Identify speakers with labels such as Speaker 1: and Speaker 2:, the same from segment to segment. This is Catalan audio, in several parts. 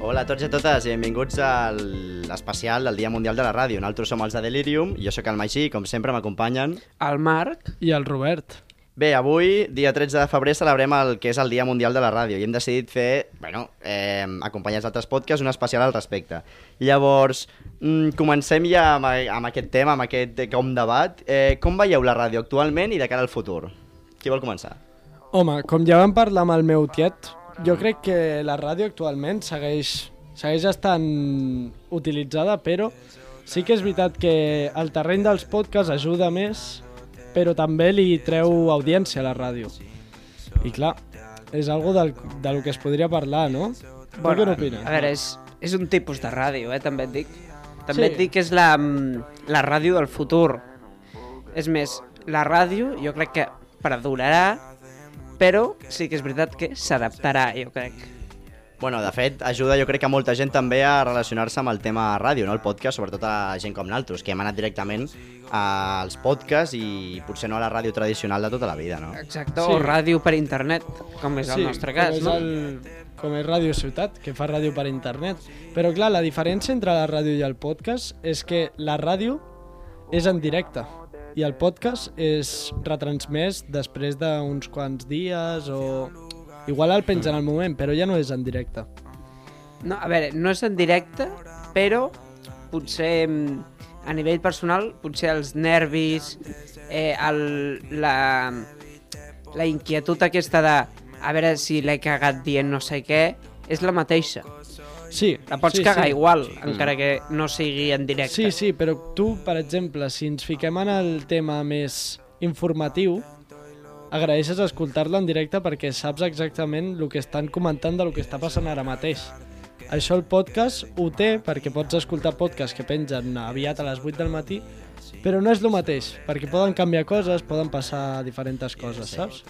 Speaker 1: Hola a tots i a totes i benvinguts a l'especial del Dia Mundial de la Ràdio. Nosaltres som els de Delirium, jo sóc el Magí i com sempre m'acompanyen.
Speaker 2: El Marc
Speaker 3: I el Robert.
Speaker 1: Bé, avui, dia 13 de febrer, celebrem el que és el Dia Mundial de la Ràdio i hem decidit fer, bueno, eh, acompanyats d'altres podcasts, un especial al respecte. Llavors, mm, comencem ja amb, amb aquest tema, amb aquest eh, com debat. Eh, com veieu la ràdio actualment i de cara al futur? Qui vol començar?
Speaker 3: Home, com ja vam parlar amb el meu tiet, jo crec que la ràdio actualment segueix, segueix estant utilitzada, però sí que és veritat que el terreny dels podcasts ajuda més, però també li treu audiència a la ràdio. I clar, és algo del, del que es podria parlar, no? Bueno, què n'opines?
Speaker 2: a veure, és, és un tipus de ràdio, eh, també et dic. També
Speaker 3: Sí.
Speaker 2: et dic que és la, mm, la ràdio del futur. És més, la ràdio jo crec que perdurarà, però sí que és veritat que s'adaptarà, jo crec.
Speaker 1: Bueno, de fet, ajuda jo crec que molta gent també a relacionar-se amb el tema ràdio, no? el podcast, sobretot a gent com naltros, que hem anat directament als podcasts i potser no a la ràdio tradicional de tota la vida, no?
Speaker 2: Exacte,
Speaker 3: Sí.
Speaker 2: o ràdio per internet, com és el nostre cas,
Speaker 3: com
Speaker 2: no?
Speaker 3: És el, com és Ràdio Ciutat, que fa ràdio per internet. Però clar, la diferència entre la ràdio i el podcast és que la ràdio és en directe i el podcast és retransmès després d'uns quants dies o... Igual el pengen al moment, però ja no és en directe.
Speaker 2: No, a veure, no és en directe, però potser mm, a nivell personal, potser els nervis, eh, el, la, la inquietud aquesta de a veure si l'he cagat dient no sé què, és la mateixa.
Speaker 3: Sí,
Speaker 2: La pots
Speaker 3: sí,
Speaker 2: sí, cagar
Speaker 3: sí.
Speaker 2: igual, encara que no sigui en directe.
Speaker 3: Sí, sí, però tu, per exemple, si ens fiquem en el tema més informatiu, agraeixes escoltar-lo en directe perquè saps exactament el que estan comentant de lo que està passant ara mateix. Això el podcast ho té perquè pots escoltar podcasts que pengen aviat a les 8 del matí, però no és el mateix, perquè poden canviar coses, poden passar diferents coses, saps?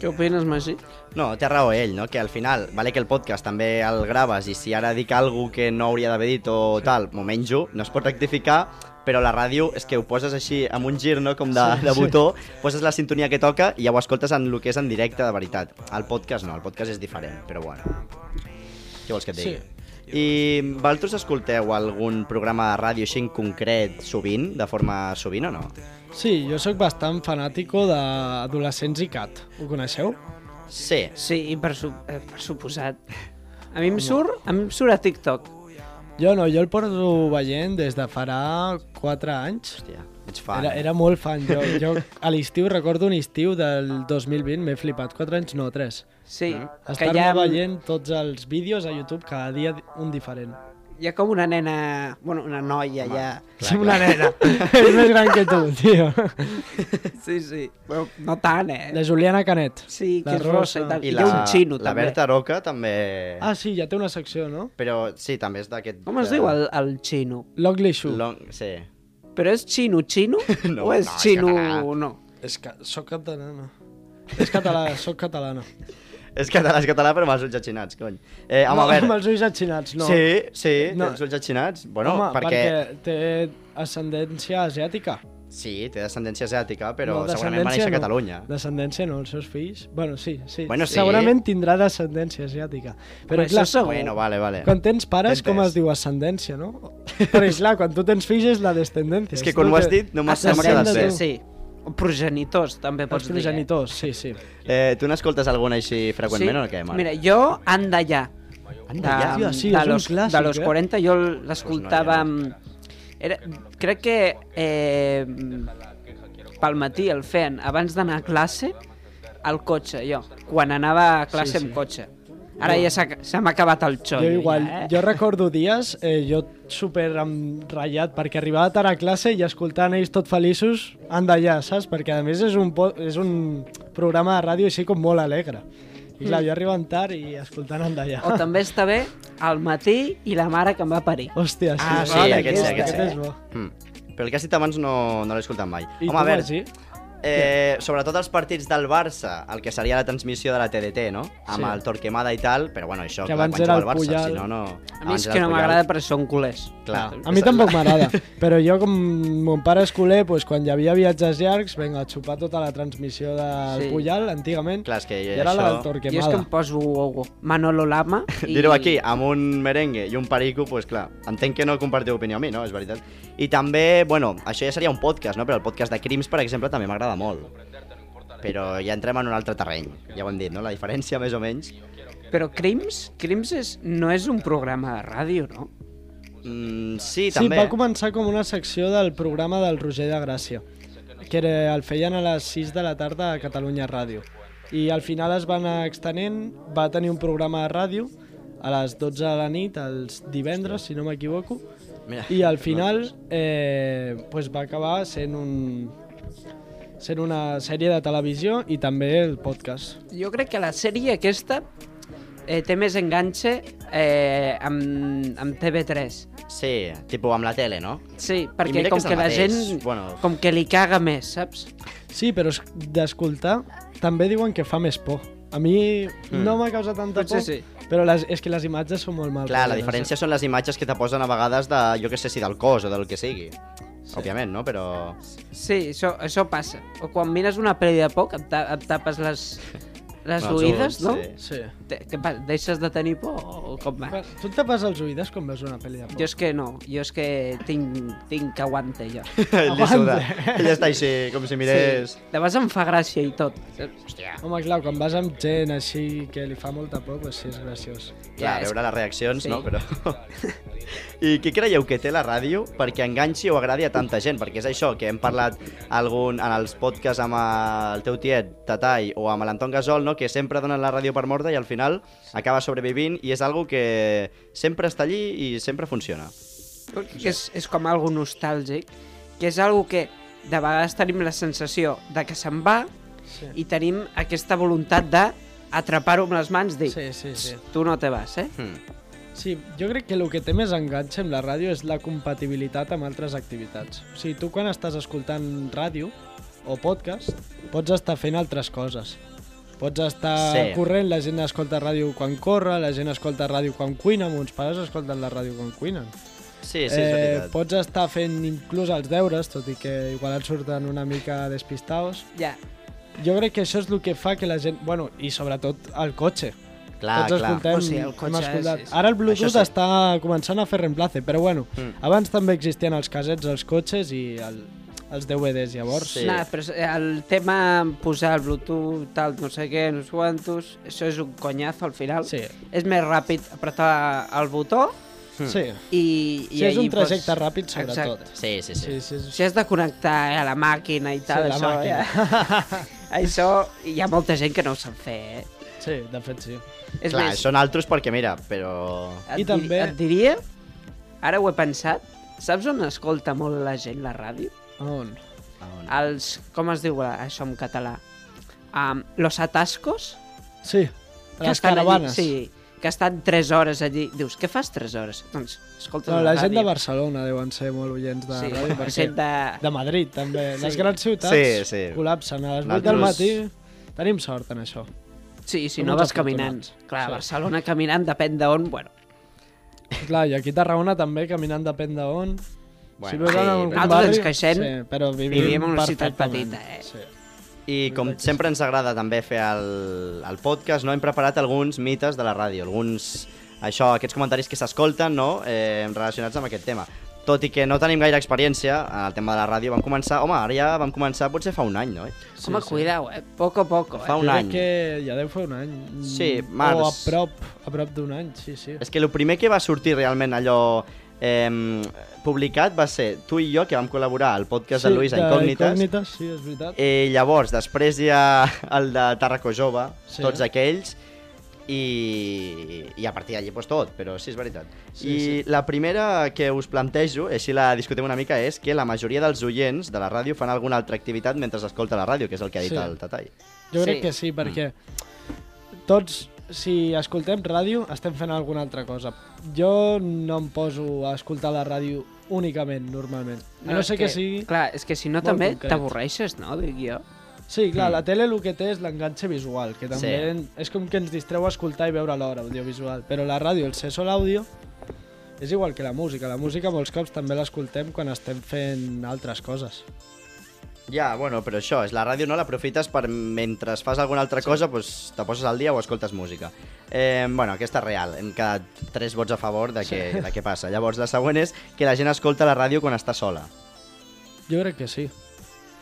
Speaker 2: Què opines, Magí?
Speaker 1: No, té raó ell, no? Que al final, vale que el podcast també el graves i si ara dic alguna que no hauria d'haver dit o tal, m'ho menjo, no es pot rectificar, però la ràdio és que ho poses així amb un gir, no? Com de,
Speaker 3: Sí,
Speaker 1: de
Speaker 3: sí.
Speaker 1: botó, poses la sintonia que toca i ja ho escoltes en el que és en directe, de veritat. El podcast no, el podcast és diferent, però bueno. Què vols que et digui?
Speaker 3: Sí.
Speaker 1: I vosaltres escolteu algun programa de ràdio així en concret sovint, de forma sovint o no?
Speaker 3: Sí, jo sóc bastant fanàtico d'Adolescents i Cat. Ho coneixeu?
Speaker 1: Sí.
Speaker 2: Sí, i per, su eh, per suposat. A mi em surt, a mi em surt a TikTok.
Speaker 3: Jo no, jo el porto veient des de farà 4 anys.
Speaker 1: Hòstia, ets fan.
Speaker 3: Era, era molt fan. Jo, jo a l'estiu, recordo un estiu del 2020, m'he flipat. 4 anys, no, 3.
Speaker 2: Sí, que
Speaker 3: Ah. Estar-me
Speaker 2: ja...
Speaker 3: ja... veient tots els vídeos a YouTube, cada dia un diferent.
Speaker 2: Hi ha com una nena... Bueno, una noia Home, ja...
Speaker 1: clar,
Speaker 2: sí, una
Speaker 1: clar.
Speaker 2: nena.
Speaker 3: És més gran que tu, tio.
Speaker 2: Sí, sí. Bueno, no tant, eh?
Speaker 3: La Juliana Canet.
Speaker 2: Sí, que
Speaker 3: la
Speaker 2: és rosa i
Speaker 3: rosa.
Speaker 2: tal. I, la... hi ha un xino,
Speaker 1: la
Speaker 2: també.
Speaker 1: Berta Roca també...
Speaker 3: Ah, sí, ja té una secció, no?
Speaker 1: Però sí, també és d'aquest...
Speaker 2: Com es
Speaker 1: eh,
Speaker 2: diu el, el xino?
Speaker 3: L'Ugly Shoe.
Speaker 1: Long... Sí.
Speaker 2: Però és xino xino
Speaker 1: No,
Speaker 2: o és
Speaker 1: no, és
Speaker 2: xino
Speaker 1: català.
Speaker 2: no?
Speaker 3: És que soc catalana. És català, soc catalana.
Speaker 1: És català, és català, però amb els ulls atxinats, cony. Eh, home, a veure...
Speaker 3: Amb els ulls atxinats, no.
Speaker 1: Sí, sí, no.
Speaker 3: No.
Speaker 1: tens ulls atxinats. Bueno,
Speaker 3: Home,
Speaker 1: perquè...
Speaker 3: perquè té ascendència asiàtica.
Speaker 1: Sí, té descendència asiàtica, però
Speaker 3: No,
Speaker 1: segurament va néixer
Speaker 3: descendència
Speaker 1: a Catalunya.
Speaker 3: No. Descendència no, els seus fills... Bueno, sí, sí.
Speaker 1: Bueno, sí.
Speaker 3: Segurament tindrà descendència asiàtica.
Speaker 2: Home,
Speaker 3: Però,
Speaker 2: això
Speaker 3: clar,
Speaker 2: segur.
Speaker 1: Bueno, eh. vale, vale.
Speaker 3: quan tens pares,
Speaker 1: T'he
Speaker 3: com es
Speaker 1: entès.
Speaker 3: diu ascendència, no? Però, clar, quan tu tens fills és la descendència.
Speaker 1: És que quan ho has dit no m'ha no m'ha quedat
Speaker 3: Ascendència,
Speaker 1: bé.
Speaker 2: Ascendència, sí. O progenitors, també
Speaker 3: Els
Speaker 2: pots dir. eh?
Speaker 3: progenitors, sí, sí.
Speaker 1: Eh, tu n'escoltes alguna així freqüentment o què, Marc?
Speaker 2: Mira, jo Anda ja.
Speaker 1: Anda Ja.
Speaker 3: Hòstia, sí,
Speaker 2: de
Speaker 3: és un
Speaker 2: los,
Speaker 3: clàssic,
Speaker 2: de los
Speaker 3: eh?
Speaker 2: 40 jo l'escoltava... amb- Era, crec que eh, pel matí el feien abans d'anar a classe al cotxe, jo, quan anava a classe sí,
Speaker 3: Sí, sí.
Speaker 2: amb cotxe. Ara ja s'ha- se m'ha acabat el xollo.
Speaker 3: Jo igual,
Speaker 2: ja, eh?
Speaker 3: jo recordo dies, eh, jo super ratllat, perquè arribava tard a classe i escoltant ells tot feliços, han d'allà, saps? Perquè a més és un, po- és un programa de ràdio així com molt alegre. I clar, jo arribant tard i escoltant han
Speaker 2: Mm.
Speaker 3: d'allà.
Speaker 2: O també està bé al matí i la mare que em va parir.
Speaker 3: Hòstia, sí.
Speaker 2: Ah,
Speaker 1: sí, aquest sí,
Speaker 3: hòstia,
Speaker 1: aquest sí.
Speaker 3: és bo.
Speaker 1: Mm. Però el que has dit abans no, no l'he escoltat mai.
Speaker 3: I
Speaker 1: Home, a
Speaker 3: tu,
Speaker 1: veure,
Speaker 3: Magí?
Speaker 1: eh, sobretot els partits del Barça, el que seria la transmissió de la TDT, no? Amb
Speaker 3: Sí.
Speaker 1: el Torquemada i tal, però bueno, això,
Speaker 3: Que
Speaker 1: clar,
Speaker 3: abans
Speaker 1: quan
Speaker 3: era
Speaker 1: juga
Speaker 3: el
Speaker 1: el Barça,
Speaker 3: Puyol.
Speaker 1: si no, no...
Speaker 2: A mi
Speaker 1: abans
Speaker 2: és
Speaker 1: era
Speaker 2: que
Speaker 1: el
Speaker 2: no
Speaker 1: Puyol.
Speaker 2: m'agrada perquè són culers.
Speaker 1: Clar.
Speaker 3: A mi tampoc m'agrada, però jo com mon pare és culer, doncs, quan hi havia viatges llargs, vinga, a xupar tota la transmissió del
Speaker 2: Sí.
Speaker 3: Puyal, antigament,
Speaker 1: Clar, és que
Speaker 3: i era la
Speaker 1: això...
Speaker 3: del
Speaker 2: Jo és que
Speaker 3: Torquemada.
Speaker 2: em poso Manolo Lama i...
Speaker 1: Dir-ho aquí, amb un merengue i un perico, doncs pues, clar, entenc que no compartiu opinió amb mi, no? És veritat. I també, bueno, això ja seria un podcast, no? Però el podcast de Crims, per exemple, també m'agrada molt. Però ja entrem en un altre terreny, ja ho hem dit, no? La diferència, més o menys.
Speaker 2: Però Crims, Crims és, no és un programa de ràdio, no?
Speaker 1: Mm, sí,
Speaker 3: Sí,
Speaker 1: també.
Speaker 3: va començar com una secció del programa del Roger de Gràcia, que era, el feien a les 6 de la tarda a Catalunya Ràdio. I al final es va anar extenent, va tenir un programa de ràdio a les 12 de la nit, els divendres, si no m'equivoco,
Speaker 1: Mira,
Speaker 3: i al final eh, pues va acabar sent un sent una sèrie de televisió i també el podcast.
Speaker 2: Jo crec que la sèrie aquesta eh, té més enganxe eh, amb, amb TV3.
Speaker 1: Sí, tipus amb la tele, no?
Speaker 2: Sí,
Speaker 1: I
Speaker 2: perquè
Speaker 1: mira que
Speaker 2: com
Speaker 1: és el
Speaker 2: que, la
Speaker 1: mateix,
Speaker 2: gent...
Speaker 1: bueno.
Speaker 2: Com que li caga més, saps?
Speaker 3: Sí, però es- d'escoltar també diuen que fa més por. A mi no m'ha causat tanta
Speaker 2: Mm. Potser
Speaker 3: por,
Speaker 2: sí.
Speaker 3: però les, és que les imatges són molt mal.
Speaker 1: Clar, la
Speaker 3: rodades,
Speaker 1: diferència són les imatges que te posen a vegades de, jo que sé, si del cos o del que sigui. Sí. Òbviament, no? Però...
Speaker 2: Sí, això, això passa. O quan mires una pel·li de poc, et, ta et tapes les, les
Speaker 1: Els
Speaker 2: oïdes,
Speaker 1: ulls,
Speaker 2: no?
Speaker 1: sí.
Speaker 2: Sí.
Speaker 3: eh? Sí.
Speaker 2: Què passa? Deixes de tenir por o com va?
Speaker 3: Però Tu et tapes els oïdes quan veus una pel·li de por.
Speaker 2: Jo és que no, jo és que tinc, tinc que aguante, jo.
Speaker 1: Ell li
Speaker 3: Aguanta.
Speaker 1: suda. Ell està així, com si mirés...
Speaker 2: De vegades em fa gràcia i tot. saps?
Speaker 1: Hòstia.
Speaker 3: Home, clar, quan vas amb gent així que li fa molta por, doncs sí, és graciós.
Speaker 1: Clar,
Speaker 2: Ja, és-
Speaker 1: veure les reaccions,
Speaker 2: sí.
Speaker 1: no? Però... I què creieu que té la ràdio perquè enganxi o agradi a tanta gent? Perquè és això, que hem parlat algun, en els podcasts amb el teu tiet, Tatai, o amb l'Anton Gasol, no? que sempre donen la ràdio per morta i al final acaba sobrevivint i és algo que sempre està allí i sempre funciona.
Speaker 2: que és, és com algo nostàlgic, que és algo que de vegades tenim la sensació de que se'n va
Speaker 3: Sí.
Speaker 2: i tenim aquesta voluntat de atrapar-ho amb les mans, dir,
Speaker 3: Sí, sí, sí.
Speaker 2: tu no te vas, eh?
Speaker 1: Hmm.
Speaker 3: Sí, jo crec que el que té més enganxa amb la ràdio és la compatibilitat amb altres activitats. O sigui, tu quan estàs escoltant ràdio o podcast, pots estar fent altres coses. Pots estar
Speaker 1: Sí.
Speaker 3: sí. corrent, la gent escolta ràdio quan corre, la gent escolta ràdio quan cuina, mons pares escolten la ràdio quan cuinen. Eh,
Speaker 1: Sí, sí, és veritat.
Speaker 3: pots estar fent inclús els deures, tot i que igual et surten una mica despistaos.
Speaker 2: Ja,
Speaker 3: Jo crec que això és el que fa que la gent... Bueno, i sobretot el cotxe.
Speaker 1: Clar,
Speaker 3: Tots
Speaker 1: clar.
Speaker 3: escoltem,
Speaker 2: O sigui, el
Speaker 3: hem
Speaker 2: cotxe és-
Speaker 3: escoltat.
Speaker 2: és-
Speaker 3: Ara el
Speaker 1: Això
Speaker 3: Bluetooth
Speaker 1: sí.
Speaker 3: està començant a fer reemplace, però bueno,
Speaker 1: Mm.
Speaker 3: abans també existien els casets, els cotxes i el, els DVDs, llavors.
Speaker 1: Sí.
Speaker 2: sí. Nah, però el tema posar el bluetooth, tal, no sé què, no sé quantos, això és un conyazo al final.
Speaker 3: Sí,
Speaker 2: És més ràpid apretar el botó
Speaker 1: Mm.
Speaker 3: sí.
Speaker 2: i...
Speaker 3: Sí,
Speaker 2: i
Speaker 3: és un
Speaker 2: allí pots-
Speaker 3: trajecte ràpid, sobretot.
Speaker 2: Exacte.
Speaker 1: Sí, sí, sí.
Speaker 3: Sí, sí, sí.
Speaker 2: Si has de connectar eh, a la màquina i tal,
Speaker 3: Sí, la
Speaker 2: això, Ja, això hi ha molta gent que no ho sap fer, eh?
Speaker 3: sí, de fet sí.
Speaker 2: És
Speaker 1: Clar,
Speaker 2: més,
Speaker 1: són altres perquè mira, però...
Speaker 2: et,
Speaker 3: I
Speaker 2: diri-
Speaker 3: també-
Speaker 2: et diria, ara ho he pensat, saps on escolta molt la gent la ràdio?
Speaker 3: A on?
Speaker 2: Ah,
Speaker 1: On?
Speaker 2: Els, com es diu això en català? Um, los atascos?
Speaker 3: Sí,
Speaker 2: que
Speaker 3: les
Speaker 2: estan
Speaker 3: caravanes.
Speaker 2: Allí, sí, que estan 3 hores allí. Dius, què fas 3 hores? Doncs, escolta
Speaker 3: No, la gent de Barcelona deuen ser molt oients de
Speaker 2: Sí,
Speaker 3: ràdio,
Speaker 2: la
Speaker 3: perquè...
Speaker 2: gent de...
Speaker 3: De Madrid, també.
Speaker 2: Sí.
Speaker 3: Les grans ciutats
Speaker 1: Sí, sí.
Speaker 3: col·lapsen. A les 8
Speaker 1: Nosaltres-
Speaker 3: del matí tenim sort en això.
Speaker 2: Sí, si
Speaker 3: Som
Speaker 2: no
Speaker 3: uns
Speaker 2: vas caminant.
Speaker 3: afortunats.
Speaker 2: Clar,
Speaker 3: Sí.
Speaker 2: sí. Barcelona caminant, depèn d'on, bueno.
Speaker 3: Clar, i aquí a Tarragona també, caminant depèn de on.
Speaker 1: Bueno,
Speaker 3: si veus
Speaker 1: sí,
Speaker 3: en algun
Speaker 1: però-
Speaker 2: Nosaltres ens
Speaker 3: barri,
Speaker 2: queixem,
Speaker 3: sí, però vivim,
Speaker 2: vivim en una ciutat
Speaker 3: perfectament.
Speaker 2: petita, eh?
Speaker 3: Sí.
Speaker 1: I com sempre ens agrada també fer el, el podcast, no hem preparat alguns mites de la ràdio, alguns això, aquests comentaris que s'escolten no? eh, relacionats amb aquest tema. Tot i que no tenim gaire experiència en el tema de la ràdio, vam començar, home, ara ja vam començar potser fa un any, no?
Speaker 2: Sí, Home, sí. cuideu, eh? Poco a poco,
Speaker 1: Fa
Speaker 2: eh?
Speaker 1: un
Speaker 3: Jo crec
Speaker 1: any.
Speaker 3: que ja deu fer un any.
Speaker 1: Sí,
Speaker 3: Mm,
Speaker 1: març.
Speaker 3: O a prop, a prop d'un any, sí, sí.
Speaker 1: És que el primer que va sortir realment allò eh, publicat va ser tu i jo, que vam col·laborar al podcast
Speaker 3: Sí,
Speaker 1: de Luis a Incògnites, Eh,
Speaker 3: Incògnites, sí, és veritat.
Speaker 1: I llavors, després hi ha el de Tarraco Jove,
Speaker 3: Sí.
Speaker 1: sí. tots aquells, i, i a partir d'allí pues, tot, però sí, és veritat.
Speaker 3: Sí,
Speaker 1: Sí, I sí. la primera que us plantejo, així la discutim una mica, és que la majoria dels oients de la ràdio fan alguna altra activitat mentre escolta la ràdio, que és el que ha dit
Speaker 3: Sí.
Speaker 1: sí. el Tatai.
Speaker 3: Jo crec
Speaker 2: Sí.
Speaker 3: que sí, perquè tots, si escoltem ràdio, estem fent alguna altra cosa. Jo no em poso a escoltar la ràdio únicament, normalment. A no, no
Speaker 2: és
Speaker 3: ser que, que sigui...
Speaker 2: Clar, és que si no
Speaker 3: molt
Speaker 2: també
Speaker 3: concret.
Speaker 2: t'avorreixes, no? Dic jo.
Speaker 3: Sí, clar, la tele el que té és l'enganxe visual, que també
Speaker 1: Sí.
Speaker 3: és com que ens distreu escoltar i veure l'hora audiovisual, però la ràdio, el ser sol àudio, és igual que la música. La música molts cops també l'escoltem quan estem fent altres coses.
Speaker 1: Ja, bueno, però això, és la ràdio no l'aprofites per mentre fas alguna altra cosa, doncs te poses al dia o escoltes música. Eh, bueno, aquesta és real, hem quedat tres vots a favor de què, de què passa. Llavors, la següent és que la gent escolta la ràdio quan està sola.
Speaker 3: Jo crec que sí.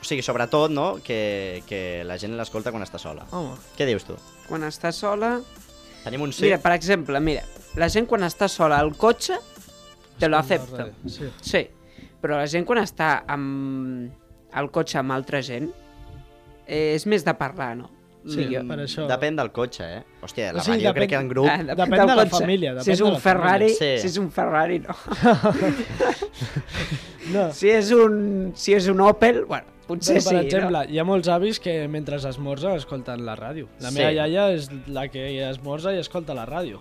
Speaker 1: O sigui, sobretot, no?, que, que la gent l'escolta quan està sola.
Speaker 3: Home,
Speaker 1: Què dius tu?
Speaker 2: Quan està sola...
Speaker 1: Tenim un sí?
Speaker 2: Mira, per exemple, mira, la gent quan està sola al cotxe te lo acepta.
Speaker 3: Sí.
Speaker 2: Sí, però la gent quan està amb el cotxe amb altra gent eh, és més de parlar, no?
Speaker 3: Sí,
Speaker 2: Digue-
Speaker 3: per això.
Speaker 1: Mm, Depèn del cotxe, eh? Hòstia, la
Speaker 3: Sí,
Speaker 1: ràdio jo
Speaker 3: depèn-
Speaker 1: crec que en grup...
Speaker 2: Ah,
Speaker 3: Depèn
Speaker 2: del
Speaker 3: de la
Speaker 2: cotxe.
Speaker 3: família,
Speaker 2: Si
Speaker 3: depèn
Speaker 2: és
Speaker 3: de
Speaker 2: un
Speaker 3: la
Speaker 2: Ferrari,
Speaker 1: família, sí.
Speaker 2: si és un Ferrari, no.
Speaker 3: No.
Speaker 2: Si és un, si és un Opel, bueno, potser
Speaker 3: Però, per
Speaker 2: sí,
Speaker 3: exemple, hi ha molts avis que mentre esmorzen escolten la ràdio. La
Speaker 1: Sí.
Speaker 3: meva iaia és la que esmorza i escolta la ràdio.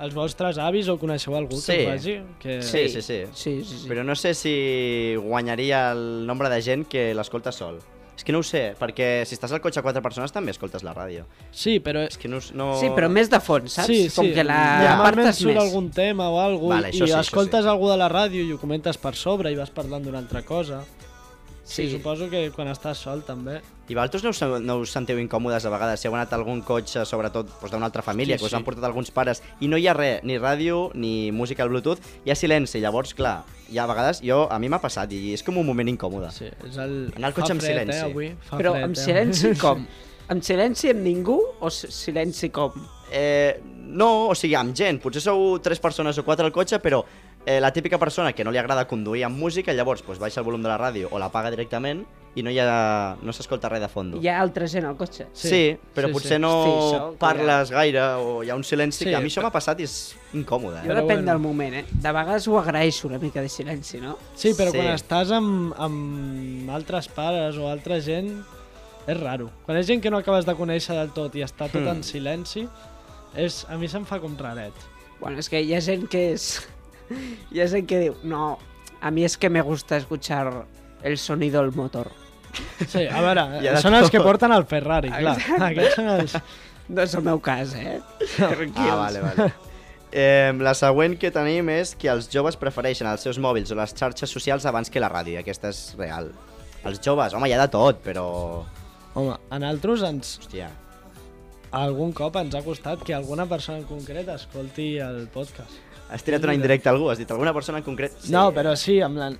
Speaker 3: Els vostres avis o coneixeu algú
Speaker 1: Sí.
Speaker 3: que ho faci? Que...
Speaker 1: Sí, sí, sí.
Speaker 2: no? Sí, sí, sí.
Speaker 1: Però no sé si guanyaria el nombre de gent que l'escolta sol. És que no ho sé, perquè si estàs al cotxe a quatre persones també escoltes la ràdio.
Speaker 3: sí però...
Speaker 1: És que no... us- no...
Speaker 2: Sí, però més de fons, saps?
Speaker 3: Sí,
Speaker 2: Com
Speaker 3: sí.
Speaker 2: que la
Speaker 1: Ja.
Speaker 3: Normalment
Speaker 2: apartes
Speaker 3: surt
Speaker 2: més.
Speaker 3: algun tema o alguna
Speaker 1: Vale,
Speaker 3: i
Speaker 1: això sí, això
Speaker 3: escoltes
Speaker 1: sí.
Speaker 3: algú de la ràdio i ho comentes per sobre i vas parlant d'una altra cosa.
Speaker 2: Sí.
Speaker 3: I suposo que quan estàs sol també.
Speaker 1: I vosaltres no us, no us sentiu incòmodes a vegades si heu anat a algun cotxe, sobretot doncs, d'una altra família,
Speaker 3: Sí,
Speaker 1: que us
Speaker 3: sí.
Speaker 1: han portat alguns pares, i no hi ha res, ni ràdio, ni música al Bluetooth, hi ha silenci. Llavors, clar, hi ha vegades... Jo, a mi m'ha passat i és com un moment incòmode.
Speaker 3: Sí, és el...
Speaker 1: Anar al
Speaker 3: fa
Speaker 1: cotxe amb
Speaker 3: fred,
Speaker 1: silenci.
Speaker 3: Eh, avui. Fa
Speaker 2: Però
Speaker 3: fred,
Speaker 2: amb
Speaker 3: eh?
Speaker 2: silenci com? Amb silenci amb ningú o s- silenci com?
Speaker 1: Eh, no, o sigui, amb gent. Potser sou tres persones o quatre al cotxe, però eh, la típica persona que no li agrada conduir amb música, llavors pues, baixa el volum de la ràdio o l'apaga directament i no, hi ha, no s'escolta res de fondo.
Speaker 2: Hi ha altra gent al cotxe.
Speaker 1: Sí, sí,
Speaker 3: Sí,
Speaker 1: però
Speaker 3: sí,
Speaker 1: potser
Speaker 3: sí.
Speaker 1: no
Speaker 2: Hosti, això,
Speaker 1: parles gaire o hi ha un silenci
Speaker 3: Sí,
Speaker 1: que a mi això
Speaker 3: però-
Speaker 1: m'ha passat i és incòmode.
Speaker 2: Jo
Speaker 1: Eh?
Speaker 3: Però
Speaker 2: depèn
Speaker 3: bueno.
Speaker 2: del moment, eh? De vegades ho agraeixo una mica de silenci, no?
Speaker 3: Sí, però
Speaker 1: Sí.
Speaker 3: sí. quan estàs amb, amb altres pares o altra gent, és raro. Quan és gent que no acabes de conèixer del tot i està tot
Speaker 1: Hmm.
Speaker 3: en silenci, és, a mi se'm fa com raret.
Speaker 2: Bueno, és que hi ha gent que és... Hi ha gent que diu, no, a mi és que me gusta escuchar el sonido del motor.
Speaker 3: Sí, a veure,
Speaker 1: Hi ha de
Speaker 3: són els que
Speaker 1: tot.
Speaker 3: porten el Ferrari, clar.
Speaker 2: Exacte.
Speaker 3: Aquests són els...
Speaker 2: No és el meu cas, eh? Tranquils.
Speaker 1: Ah, vale, vale. Eh, la següent que tenim és que els joves prefereixen els seus mòbils o les xarxes socials abans que la ràdio, i aquesta és real. Els joves, home, hi ha de tot, però...
Speaker 3: Home, a nosaltres ens,
Speaker 1: Hòstia,
Speaker 3: algun cop ens ha costat que alguna persona en concret escolti el podcast.
Speaker 1: Has tirat una indirecta a algú, has dit alguna persona en concret?
Speaker 3: Sí. No, però sí, amb la...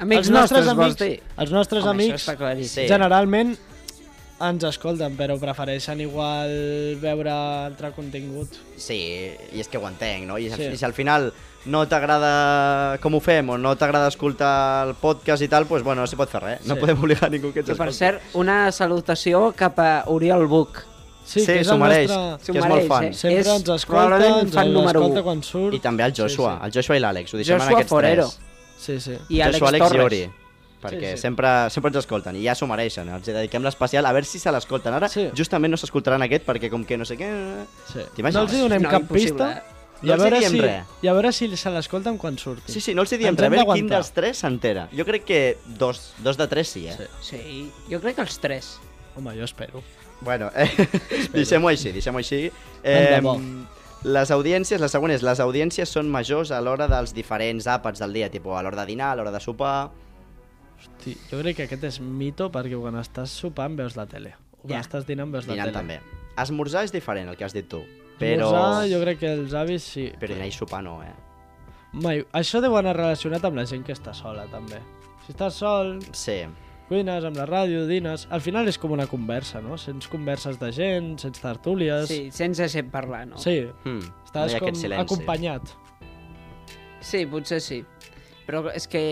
Speaker 2: Amics
Speaker 3: els nostres
Speaker 2: nostres, vols dir?
Speaker 3: amics, els nostres
Speaker 2: Home, això
Speaker 3: amics
Speaker 2: està claríssim.
Speaker 1: Sí.
Speaker 3: Generalment ens escolten, però prefereixen igual veure altre contingut.
Speaker 1: Sí, i és que ho entenc, no? I,
Speaker 3: Sí.
Speaker 1: sí. i si al final no t'agrada com ho fem o no t'agrada escoltar el podcast i tal, doncs bueno, no s'hi pot fer res. No
Speaker 3: Sí.
Speaker 1: podem obligar ningú que ens
Speaker 2: Que per
Speaker 1: escolti.
Speaker 2: cert, una salutació cap a Oriol Buch.
Speaker 1: sí,
Speaker 3: és
Speaker 1: s'ho
Speaker 3: el
Speaker 1: mereix,
Speaker 3: nostre-
Speaker 1: que és molt
Speaker 2: mereix,
Speaker 1: fan.
Speaker 2: eh?
Speaker 3: Sempre
Speaker 2: És
Speaker 3: ens escolta,
Speaker 2: probablement
Speaker 3: ens
Speaker 2: fan número
Speaker 3: escolta
Speaker 2: u.
Speaker 3: quan surt.
Speaker 1: I també el Joshua,
Speaker 3: Sí,
Speaker 1: el Joshua i l'Àlex, ho deixem en
Speaker 2: Joshua
Speaker 1: aquests
Speaker 2: Forero.
Speaker 1: tres.
Speaker 3: sí. sí, sí.
Speaker 2: I Àlex
Speaker 1: Joshua, Àlex
Speaker 2: Torres.
Speaker 1: i Ori. Perquè
Speaker 3: Sí, sí.
Speaker 1: Sempre, sempre ens escolten i ja s'ho mereixen. Els hi dediquem l'especial a veure si se l'escolten. Ara
Speaker 3: Sí.
Speaker 1: justament no s'escoltaran aquest perquè com que no sé què...
Speaker 3: sí.
Speaker 1: T'imagines?
Speaker 3: No els hi donem
Speaker 2: No,
Speaker 3: cap
Speaker 2: impossible, eh?
Speaker 3: pista.
Speaker 1: No
Speaker 3: I a,
Speaker 1: els hi
Speaker 3: veure
Speaker 1: diem
Speaker 3: si,
Speaker 1: res.
Speaker 3: I a veure si se l'escolten quan surti.
Speaker 1: Sí, sí, no els hi diem
Speaker 3: Ens
Speaker 1: res,
Speaker 3: hem
Speaker 1: a veure quin
Speaker 3: d'aguantar.
Speaker 1: dels tres s'entera. Jo crec que dos, dos de tres sí, eh?
Speaker 3: Sí.
Speaker 2: Sí, jo crec que els tres.
Speaker 3: Home, jo espero.
Speaker 1: Bueno, eh, deixem-ho així, deixem-ho així.
Speaker 3: Tant de bo.
Speaker 1: les audiències, la següent és, les audiències són majors a l'hora dels diferents àpats del dia, tipus a l'hora de dinar, a l'hora de sopar...
Speaker 3: Hosti, jo crec que aquest és mito perquè quan estàs sopant veus la tele. O quan
Speaker 2: Ja.
Speaker 3: estàs dinant veus la
Speaker 1: Dinar
Speaker 3: tele.
Speaker 1: també. Esmorzar és diferent, el que has dit tu. Però,
Speaker 3: Esmorzar, jo crec que els avis sí.
Speaker 1: però dinar i sopar no, eh?
Speaker 3: Mai. Això deu anar relacionat amb la gent que està sola, també. Si estàs sol,
Speaker 1: Sí,
Speaker 3: cuines, amb la ràdio, dines... Al final és com una conversa, no? Sents converses de gent, sents tertúlies...
Speaker 2: Sí, sense gent parlar, no?
Speaker 3: Sí,
Speaker 1: hmm.
Speaker 3: estàs
Speaker 1: no hi ha
Speaker 3: com
Speaker 1: aquest silenci.
Speaker 3: acompanyat.
Speaker 2: Sí, potser sí. Però és que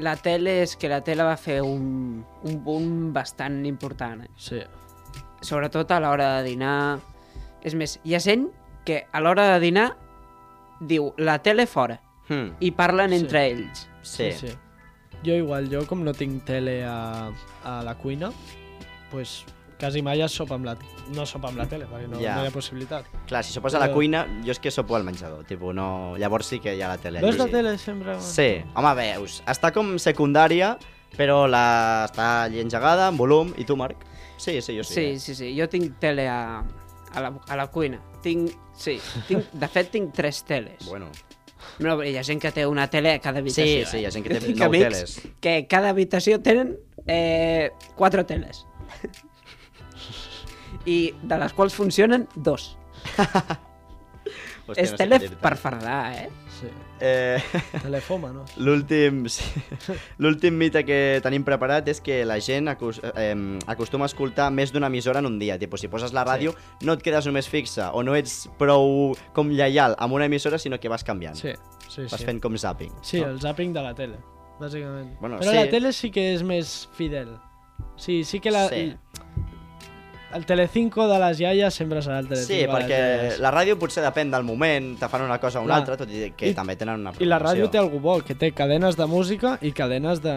Speaker 2: la tele és que la tele va fer un, un boom bastant important, eh?
Speaker 3: Sí.
Speaker 2: Sobretot a l'hora de dinar. És més, hi ha gent que a l'hora de dinar diu la tele fora
Speaker 1: Hmm.
Speaker 2: i parlen
Speaker 3: Sí.
Speaker 2: entre ells.
Speaker 1: Sí.
Speaker 3: sí, sí. Jo igual, jo com no tinc tele a, a la cuina, pues quasi mai es sopa amb la, no sopa amb la tele, perquè no,
Speaker 1: Ja.
Speaker 3: no hi ha possibilitat.
Speaker 1: Clar, si sopes a la
Speaker 3: Però-
Speaker 1: cuina, jo és que sopo al menjador, tipus, no... Llavors sí que hi ha la tele.
Speaker 3: Veus la
Speaker 1: allí.
Speaker 3: tele sempre?
Speaker 1: Sí, home, veus, està com secundària, però la... està allí engegada, en volum, i tu, Marc? Sí, sí, jo sí. eh.
Speaker 2: Sí, sí, sí. Jo tinc tele a, a, la, a la cuina. Tinc, sí, tinc, de fet tinc tres teles.
Speaker 1: Bueno,
Speaker 2: No, però hi ha gent que té una tele a cada habitació.
Speaker 1: Sí, sí,
Speaker 2: eh?
Speaker 1: hi ha gent que té
Speaker 2: Jo tinc
Speaker 1: nou
Speaker 2: amics
Speaker 1: teles.
Speaker 2: Que cada habitació tenen eh, quatre teles. I de les quals funcionen dos. Hòstia, és
Speaker 1: no sé
Speaker 2: tele
Speaker 1: què dir-te.
Speaker 2: per fardar, eh?
Speaker 3: Sí.
Speaker 1: Eh,
Speaker 3: Telefoma, no?
Speaker 1: L'últim sí. L'últim mite que tenim preparat és que la gent acus eh, acostuma a escoltar més d'una emissora en un dia. Tipo, si poses la ràdio, sí. no et quedes només fixa o no ets prou com lleial amb una emissora, sinó que vas canviant.
Speaker 3: Sí, sí,
Speaker 1: Vas
Speaker 3: sí.
Speaker 1: fent com zapping.
Speaker 3: Sí,
Speaker 1: no?
Speaker 3: el zapping de la tele, bàsicament.
Speaker 1: Bueno,
Speaker 3: Però
Speaker 1: sí.
Speaker 3: la tele sí que és més fidel. Sí, sí que la...
Speaker 1: Sí.
Speaker 3: El Telecinco de les iaies sempre serà el Telecinco
Speaker 1: Sí,
Speaker 3: de les
Speaker 1: perquè
Speaker 3: iaies.
Speaker 1: la ràdio potser depèn del moment, te fan una cosa o una
Speaker 3: Clar.
Speaker 1: altra, tot i que
Speaker 3: I-
Speaker 1: també tenen una
Speaker 3: I la ràdio té
Speaker 1: programació.
Speaker 3: algú bo, que té cadenes de música i cadenes de,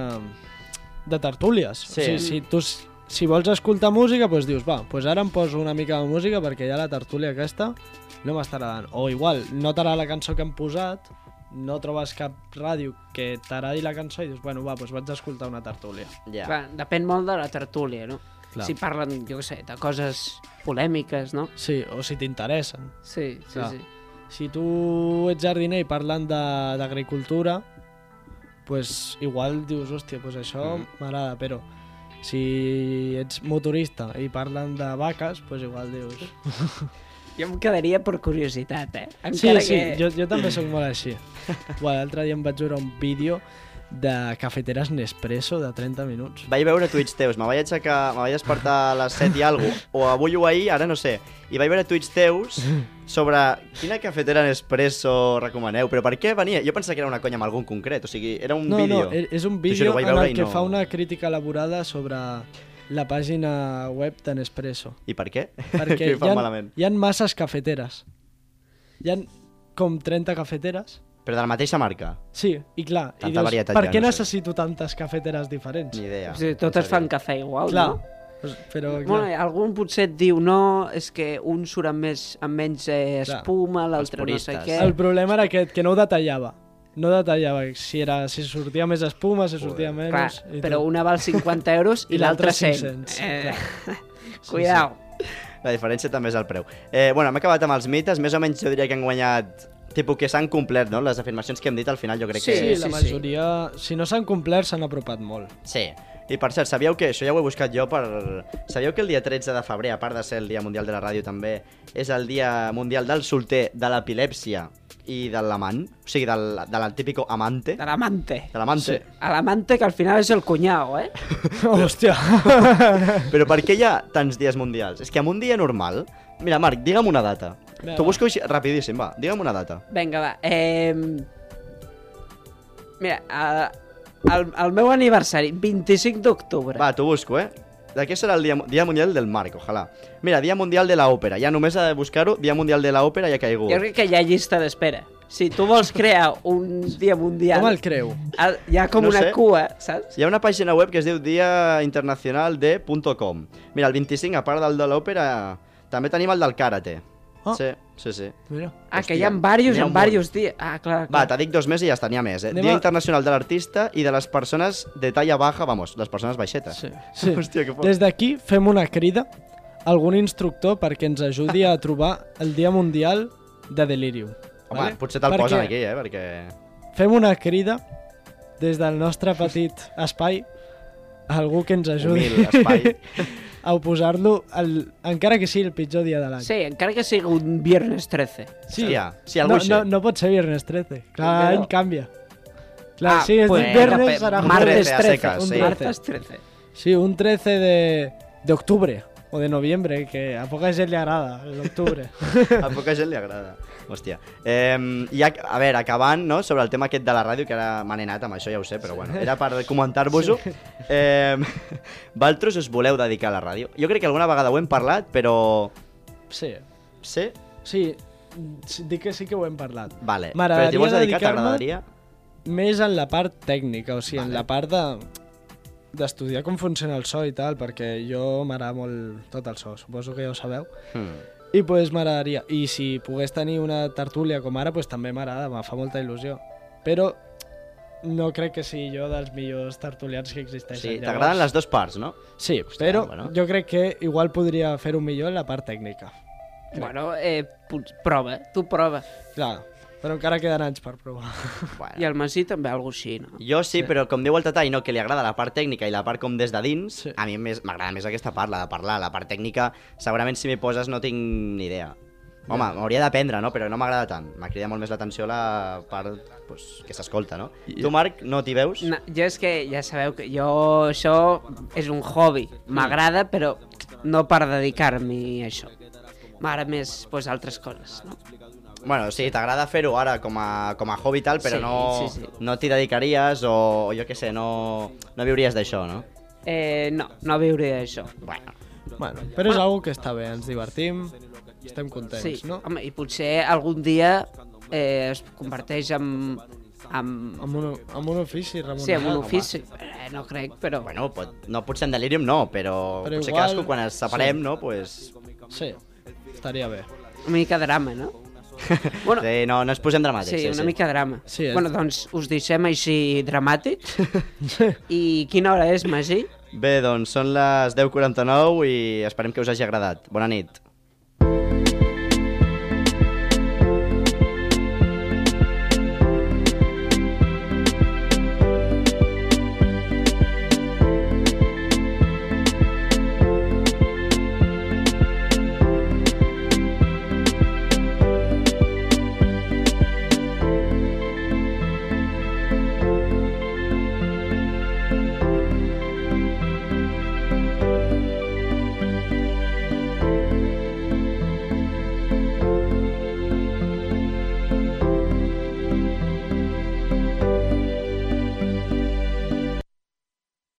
Speaker 3: de tertúlies.
Speaker 1: Sí.
Speaker 3: O sigui, si tu s- si vols escoltar música, doncs dius, va, doncs ara em poso una mica de música perquè ja la tertúlia aquesta no m'està agradant. O igual, no t'agrada la cançó que hem posat, no trobes cap ràdio que t'agradi la cançó i dius, bueno, va, doncs vaig a escoltar una tertúlia.
Speaker 1: Ja.
Speaker 2: Clar, depèn molt de la tertúlia, no?
Speaker 3: Clar.
Speaker 2: Si parlen, jo què sé, de coses polèmiques, no?
Speaker 3: Sí, o si t'interessen.
Speaker 2: Sí, sí,
Speaker 3: Clar.
Speaker 2: sí.
Speaker 3: Si tu ets jardiner i parlen de- d'agricultura, pues igual dius, hòstia, pues això m'agrada, mm. però si ets motorista i parlen de vaques, pues igual dius...
Speaker 2: Jo em quedaria per curiositat, eh?
Speaker 3: Sí,
Speaker 2: Encara
Speaker 3: sí,
Speaker 2: que...
Speaker 3: jo, jo també sóc molt així. Bueno, L'altre dia em vaig veure un vídeo de cafeteres Nespresso de 30 minuts.
Speaker 1: Vaig veure tuits teus, me vaig aixecar, me vaig despertar a les 7 i algo, o avui o ahir, ara no sé, i vaig veure tuits teus sobre quina cafetera Nespresso recomaneu, però per què venia? Jo pensava que era una conya amb algun concret, o sigui, era un
Speaker 3: no,
Speaker 1: vídeo.
Speaker 3: no, e- és un
Speaker 1: T'ho juro,
Speaker 3: vídeo
Speaker 1: ho vaig
Speaker 3: en el
Speaker 1: veure i
Speaker 3: que
Speaker 1: no-
Speaker 3: fa una crítica elaborada sobre la pàgina web de Nespresso.
Speaker 1: I per què?
Speaker 3: perquè
Speaker 1: que ho fan
Speaker 3: hi, ha,
Speaker 1: malament.
Speaker 3: hi ha masses cafeteres. Hi ha com 30 cafeteres.
Speaker 1: Però de la mateixa marca,
Speaker 3: Sí, i clar,
Speaker 1: Tanta
Speaker 3: i dius,
Speaker 1: varietat
Speaker 3: per
Speaker 1: ja,
Speaker 3: què
Speaker 1: no sé."
Speaker 3: necessito tantes cafeteres diferents?
Speaker 1: ni idea.
Speaker 2: O sigui, totes fan cafè igual,
Speaker 3: Clar,
Speaker 2: no?
Speaker 3: pues, però clar,
Speaker 2: Bueno, algun potser et diu no, és que un surt amb, més, amb menys eh,
Speaker 3: Clar.
Speaker 2: espuma, l'altre no sé
Speaker 1: puristes.
Speaker 2: què.
Speaker 3: el problema era aquest, que no ho detallava. No detallava si, era, si sortia més espuma, si sortia
Speaker 1: Joder.
Speaker 2: Clar,
Speaker 3: menys... i
Speaker 2: però
Speaker 3: tot.
Speaker 2: una val 50 euros i,
Speaker 3: I l'altra
Speaker 2: l'altra 100.
Speaker 3: 500,
Speaker 2: Eh, cuidao.
Speaker 1: La diferència també és el preu. Eh, bueno, hem acabat amb els mites, més o menys jo diria que han guanyat tipus que s'han complert, no? Les afirmacions que hem dit al final jo crec
Speaker 2: Sí,
Speaker 1: que...
Speaker 3: Sí, la
Speaker 2: sí.
Speaker 3: majoria, si no s'han complert, s'han apropat molt.
Speaker 1: Sí. I per cert, sabíeu que, això ja ho he buscat jo per... Sabíeu que el dia 13 de febrer, a part de ser el Dia Mundial de la Ràdio també, és el Dia Mundial del Solter, de l'Epilèpsia i de l'amant? O sigui, del, de la típico amante?
Speaker 2: De l'amante.
Speaker 1: De l'amante.
Speaker 2: A l'amante, que al final és el cunyau, eh?
Speaker 3: Hòstia!
Speaker 1: Però per què hi ha tants dies mundials? És que en un dia normal... Mira, Marc, digue'm una data.
Speaker 3: Vinga,
Speaker 1: T'ho
Speaker 3: va.
Speaker 1: busco així, rapidíssim, va. Digue'm una data.
Speaker 2: Vinga, va. Eh... Mira, eh, el, el meu aniversari, 25 d'octubre.
Speaker 1: Va, t'ho busco, eh? De què serà el dia, dia Mundial del Marc, ojalà. Mira, Dia Mundial de l'Òpera. Ja només a buscar-ho, Dia Mundial de l'Òpera ja ha caigut.
Speaker 2: Jo crec que hi ha llista d'espera. Si tu vols crear un dia mundial...
Speaker 3: Com el creu?
Speaker 2: el- Ah, Hi ha com
Speaker 1: No
Speaker 2: una
Speaker 1: sé.
Speaker 2: cua, saps?
Speaker 1: Hi ha una pàgina web que es diu diainternacionalde.com. Mira, el 25, a part del de l'òpera, també tenim el del karate.
Speaker 3: Ah.
Speaker 1: Sí, sí, sí.
Speaker 3: Mira.
Speaker 2: Ah,
Speaker 1: Hòstia,
Speaker 2: que hi ha diversos,
Speaker 1: n'hi ha un
Speaker 2: en diversos dies. Ah, clar,
Speaker 1: Va,
Speaker 2: clar.
Speaker 1: t'ha dit dos més i ja tenia més, eh?
Speaker 3: Anem
Speaker 1: Dia
Speaker 3: a-
Speaker 1: Internacional de l'Artista i de les persones de talla baja, vamos, les persones baixetes.
Speaker 3: Sí, sí.
Speaker 1: Hòstia, que fort.
Speaker 3: Des d'aquí fem una crida a algun instructor perquè ens ajudi a trobar el Dia Mundial de Delirium.
Speaker 1: Home,
Speaker 3: vale?
Speaker 1: potser te'l
Speaker 3: Perquè
Speaker 1: posen aquí, eh? Perquè...
Speaker 3: Fem una crida des del nostre petit espai a algú que ens ajudi
Speaker 1: Humil espai.
Speaker 3: a posar-lo, al- encara que sigui el pitjor dia de l'any.
Speaker 2: Sí, encara que sigui un viernes 13.
Speaker 1: Hòstia, sí,
Speaker 3: no,
Speaker 1: algú sí.
Speaker 3: no, no pot ser viernes 13. Clar,
Speaker 2: Per què
Speaker 3: l'any
Speaker 2: no?
Speaker 3: canvia. Clar,
Speaker 2: Ah,
Speaker 3: sí, és
Speaker 2: pues,
Speaker 3: dir, viernes
Speaker 2: cap-
Speaker 3: serà
Speaker 2: martes 13,
Speaker 1: secas,
Speaker 3: un
Speaker 1: sí.
Speaker 2: Martes 13.
Speaker 3: Sí, un 13 de, de octubre o de noviembre, que a poca gent li agrada l'octubre.
Speaker 1: A poca gent li agrada. Hòstia. Eh, i a, a veure, acabant, no?, sobre el tema aquest de la ràdio, que ara me n'he anat amb això, ja ho sé, però bueno, era per comentar-vos-ho. Eh, Valtros us voleu dedicar a la ràdio? Jo crec que alguna vegada ho hem parlat, però...
Speaker 3: sí,
Speaker 1: Sí?
Speaker 3: Sí, sí, dic que sí que ho hem parlat.
Speaker 1: Vale.
Speaker 3: M'agradaria
Speaker 1: Però t'hi vols dedicar,
Speaker 3: dedicar-me-
Speaker 1: t'agradaria?
Speaker 3: Més en la part tècnica, o sigui, en la part de d'estudiar com funciona el so i tal, perquè jo m'agrada molt tot el so, suposo que ja ho sabeu.
Speaker 1: Hmm.
Speaker 3: I doncs pues, m'agradaria. I si pogués tenir una tertúlia com ara, pues, també m'agrada, me fa molta il·lusió. Però no crec que sigui jo dels millors tertulians que existeixen.
Speaker 1: Sí,
Speaker 3: llavors-
Speaker 1: t'agraden les dues parts, no?
Speaker 3: Sí, però
Speaker 1: bueno.
Speaker 3: jo crec que igual podria fer-ho millor en la part tècnica.
Speaker 2: Bueno, eh, pot- prova, tu prova.
Speaker 3: Clar, però encara queden anys per provar.
Speaker 1: Bueno.
Speaker 2: I el Masí també algo així, no?
Speaker 1: Jo sí, però com diu el Tatà, i no, que li agrada la part tècnica i la part com des de dins,
Speaker 3: Sí.
Speaker 1: a mi més- m'agrada més aquesta part, la de parlar. La part tècnica, segurament si m'hi poses no tinc ni idea. Home, m'hauria d'aprendre, no? Però no m'agrada tant. M'ha cridat molt més l'atenció la part pues, que s'escolta, no? Tu, Marc, no t'hi veus?
Speaker 2: No, jo és que ja sabeu que jo això és un hobby. M'agrada, però no per dedicar-m'hi a això. M'agrada més pues, altres coses, no?
Speaker 1: Bueno, sí, t'agrada fer-ho ara com a, com a hobby i tal, però
Speaker 2: Sí,
Speaker 1: no,
Speaker 2: sí, sí.
Speaker 1: no t'hi dedicaries o, jo què sé, no, no viuries d'això, no?
Speaker 2: Eh, no, no viuré d'això.
Speaker 1: Bueno,
Speaker 3: bueno, però és algo que està bé, ens divertim, estem contents,
Speaker 2: Sí,
Speaker 3: no?
Speaker 2: home, i potser algun dia eh, es converteix en... en...
Speaker 3: Amb un, amb un ofici remunerat.
Speaker 2: Sí, en un
Speaker 3: home.
Speaker 2: ofici. Eh, no crec, però...
Speaker 1: bueno pot, no potser en delirium no, però,
Speaker 3: Però
Speaker 1: potser
Speaker 3: igual-
Speaker 1: cadascú quan ens separem,
Speaker 3: sí.
Speaker 1: no? Pues,
Speaker 3: Sí, estaria bé.
Speaker 2: Una mica drama, no? Bueno, sí,
Speaker 1: sí, no, no ens posem dramàtics.
Speaker 2: sí, una mica drama.
Speaker 3: Sí, és-
Speaker 2: bueno, doncs us deixem així dramàtics. I quina hora és, Magí?
Speaker 1: Bé, doncs són les 10.49 i esperem que us hagi agradat. Bona nit.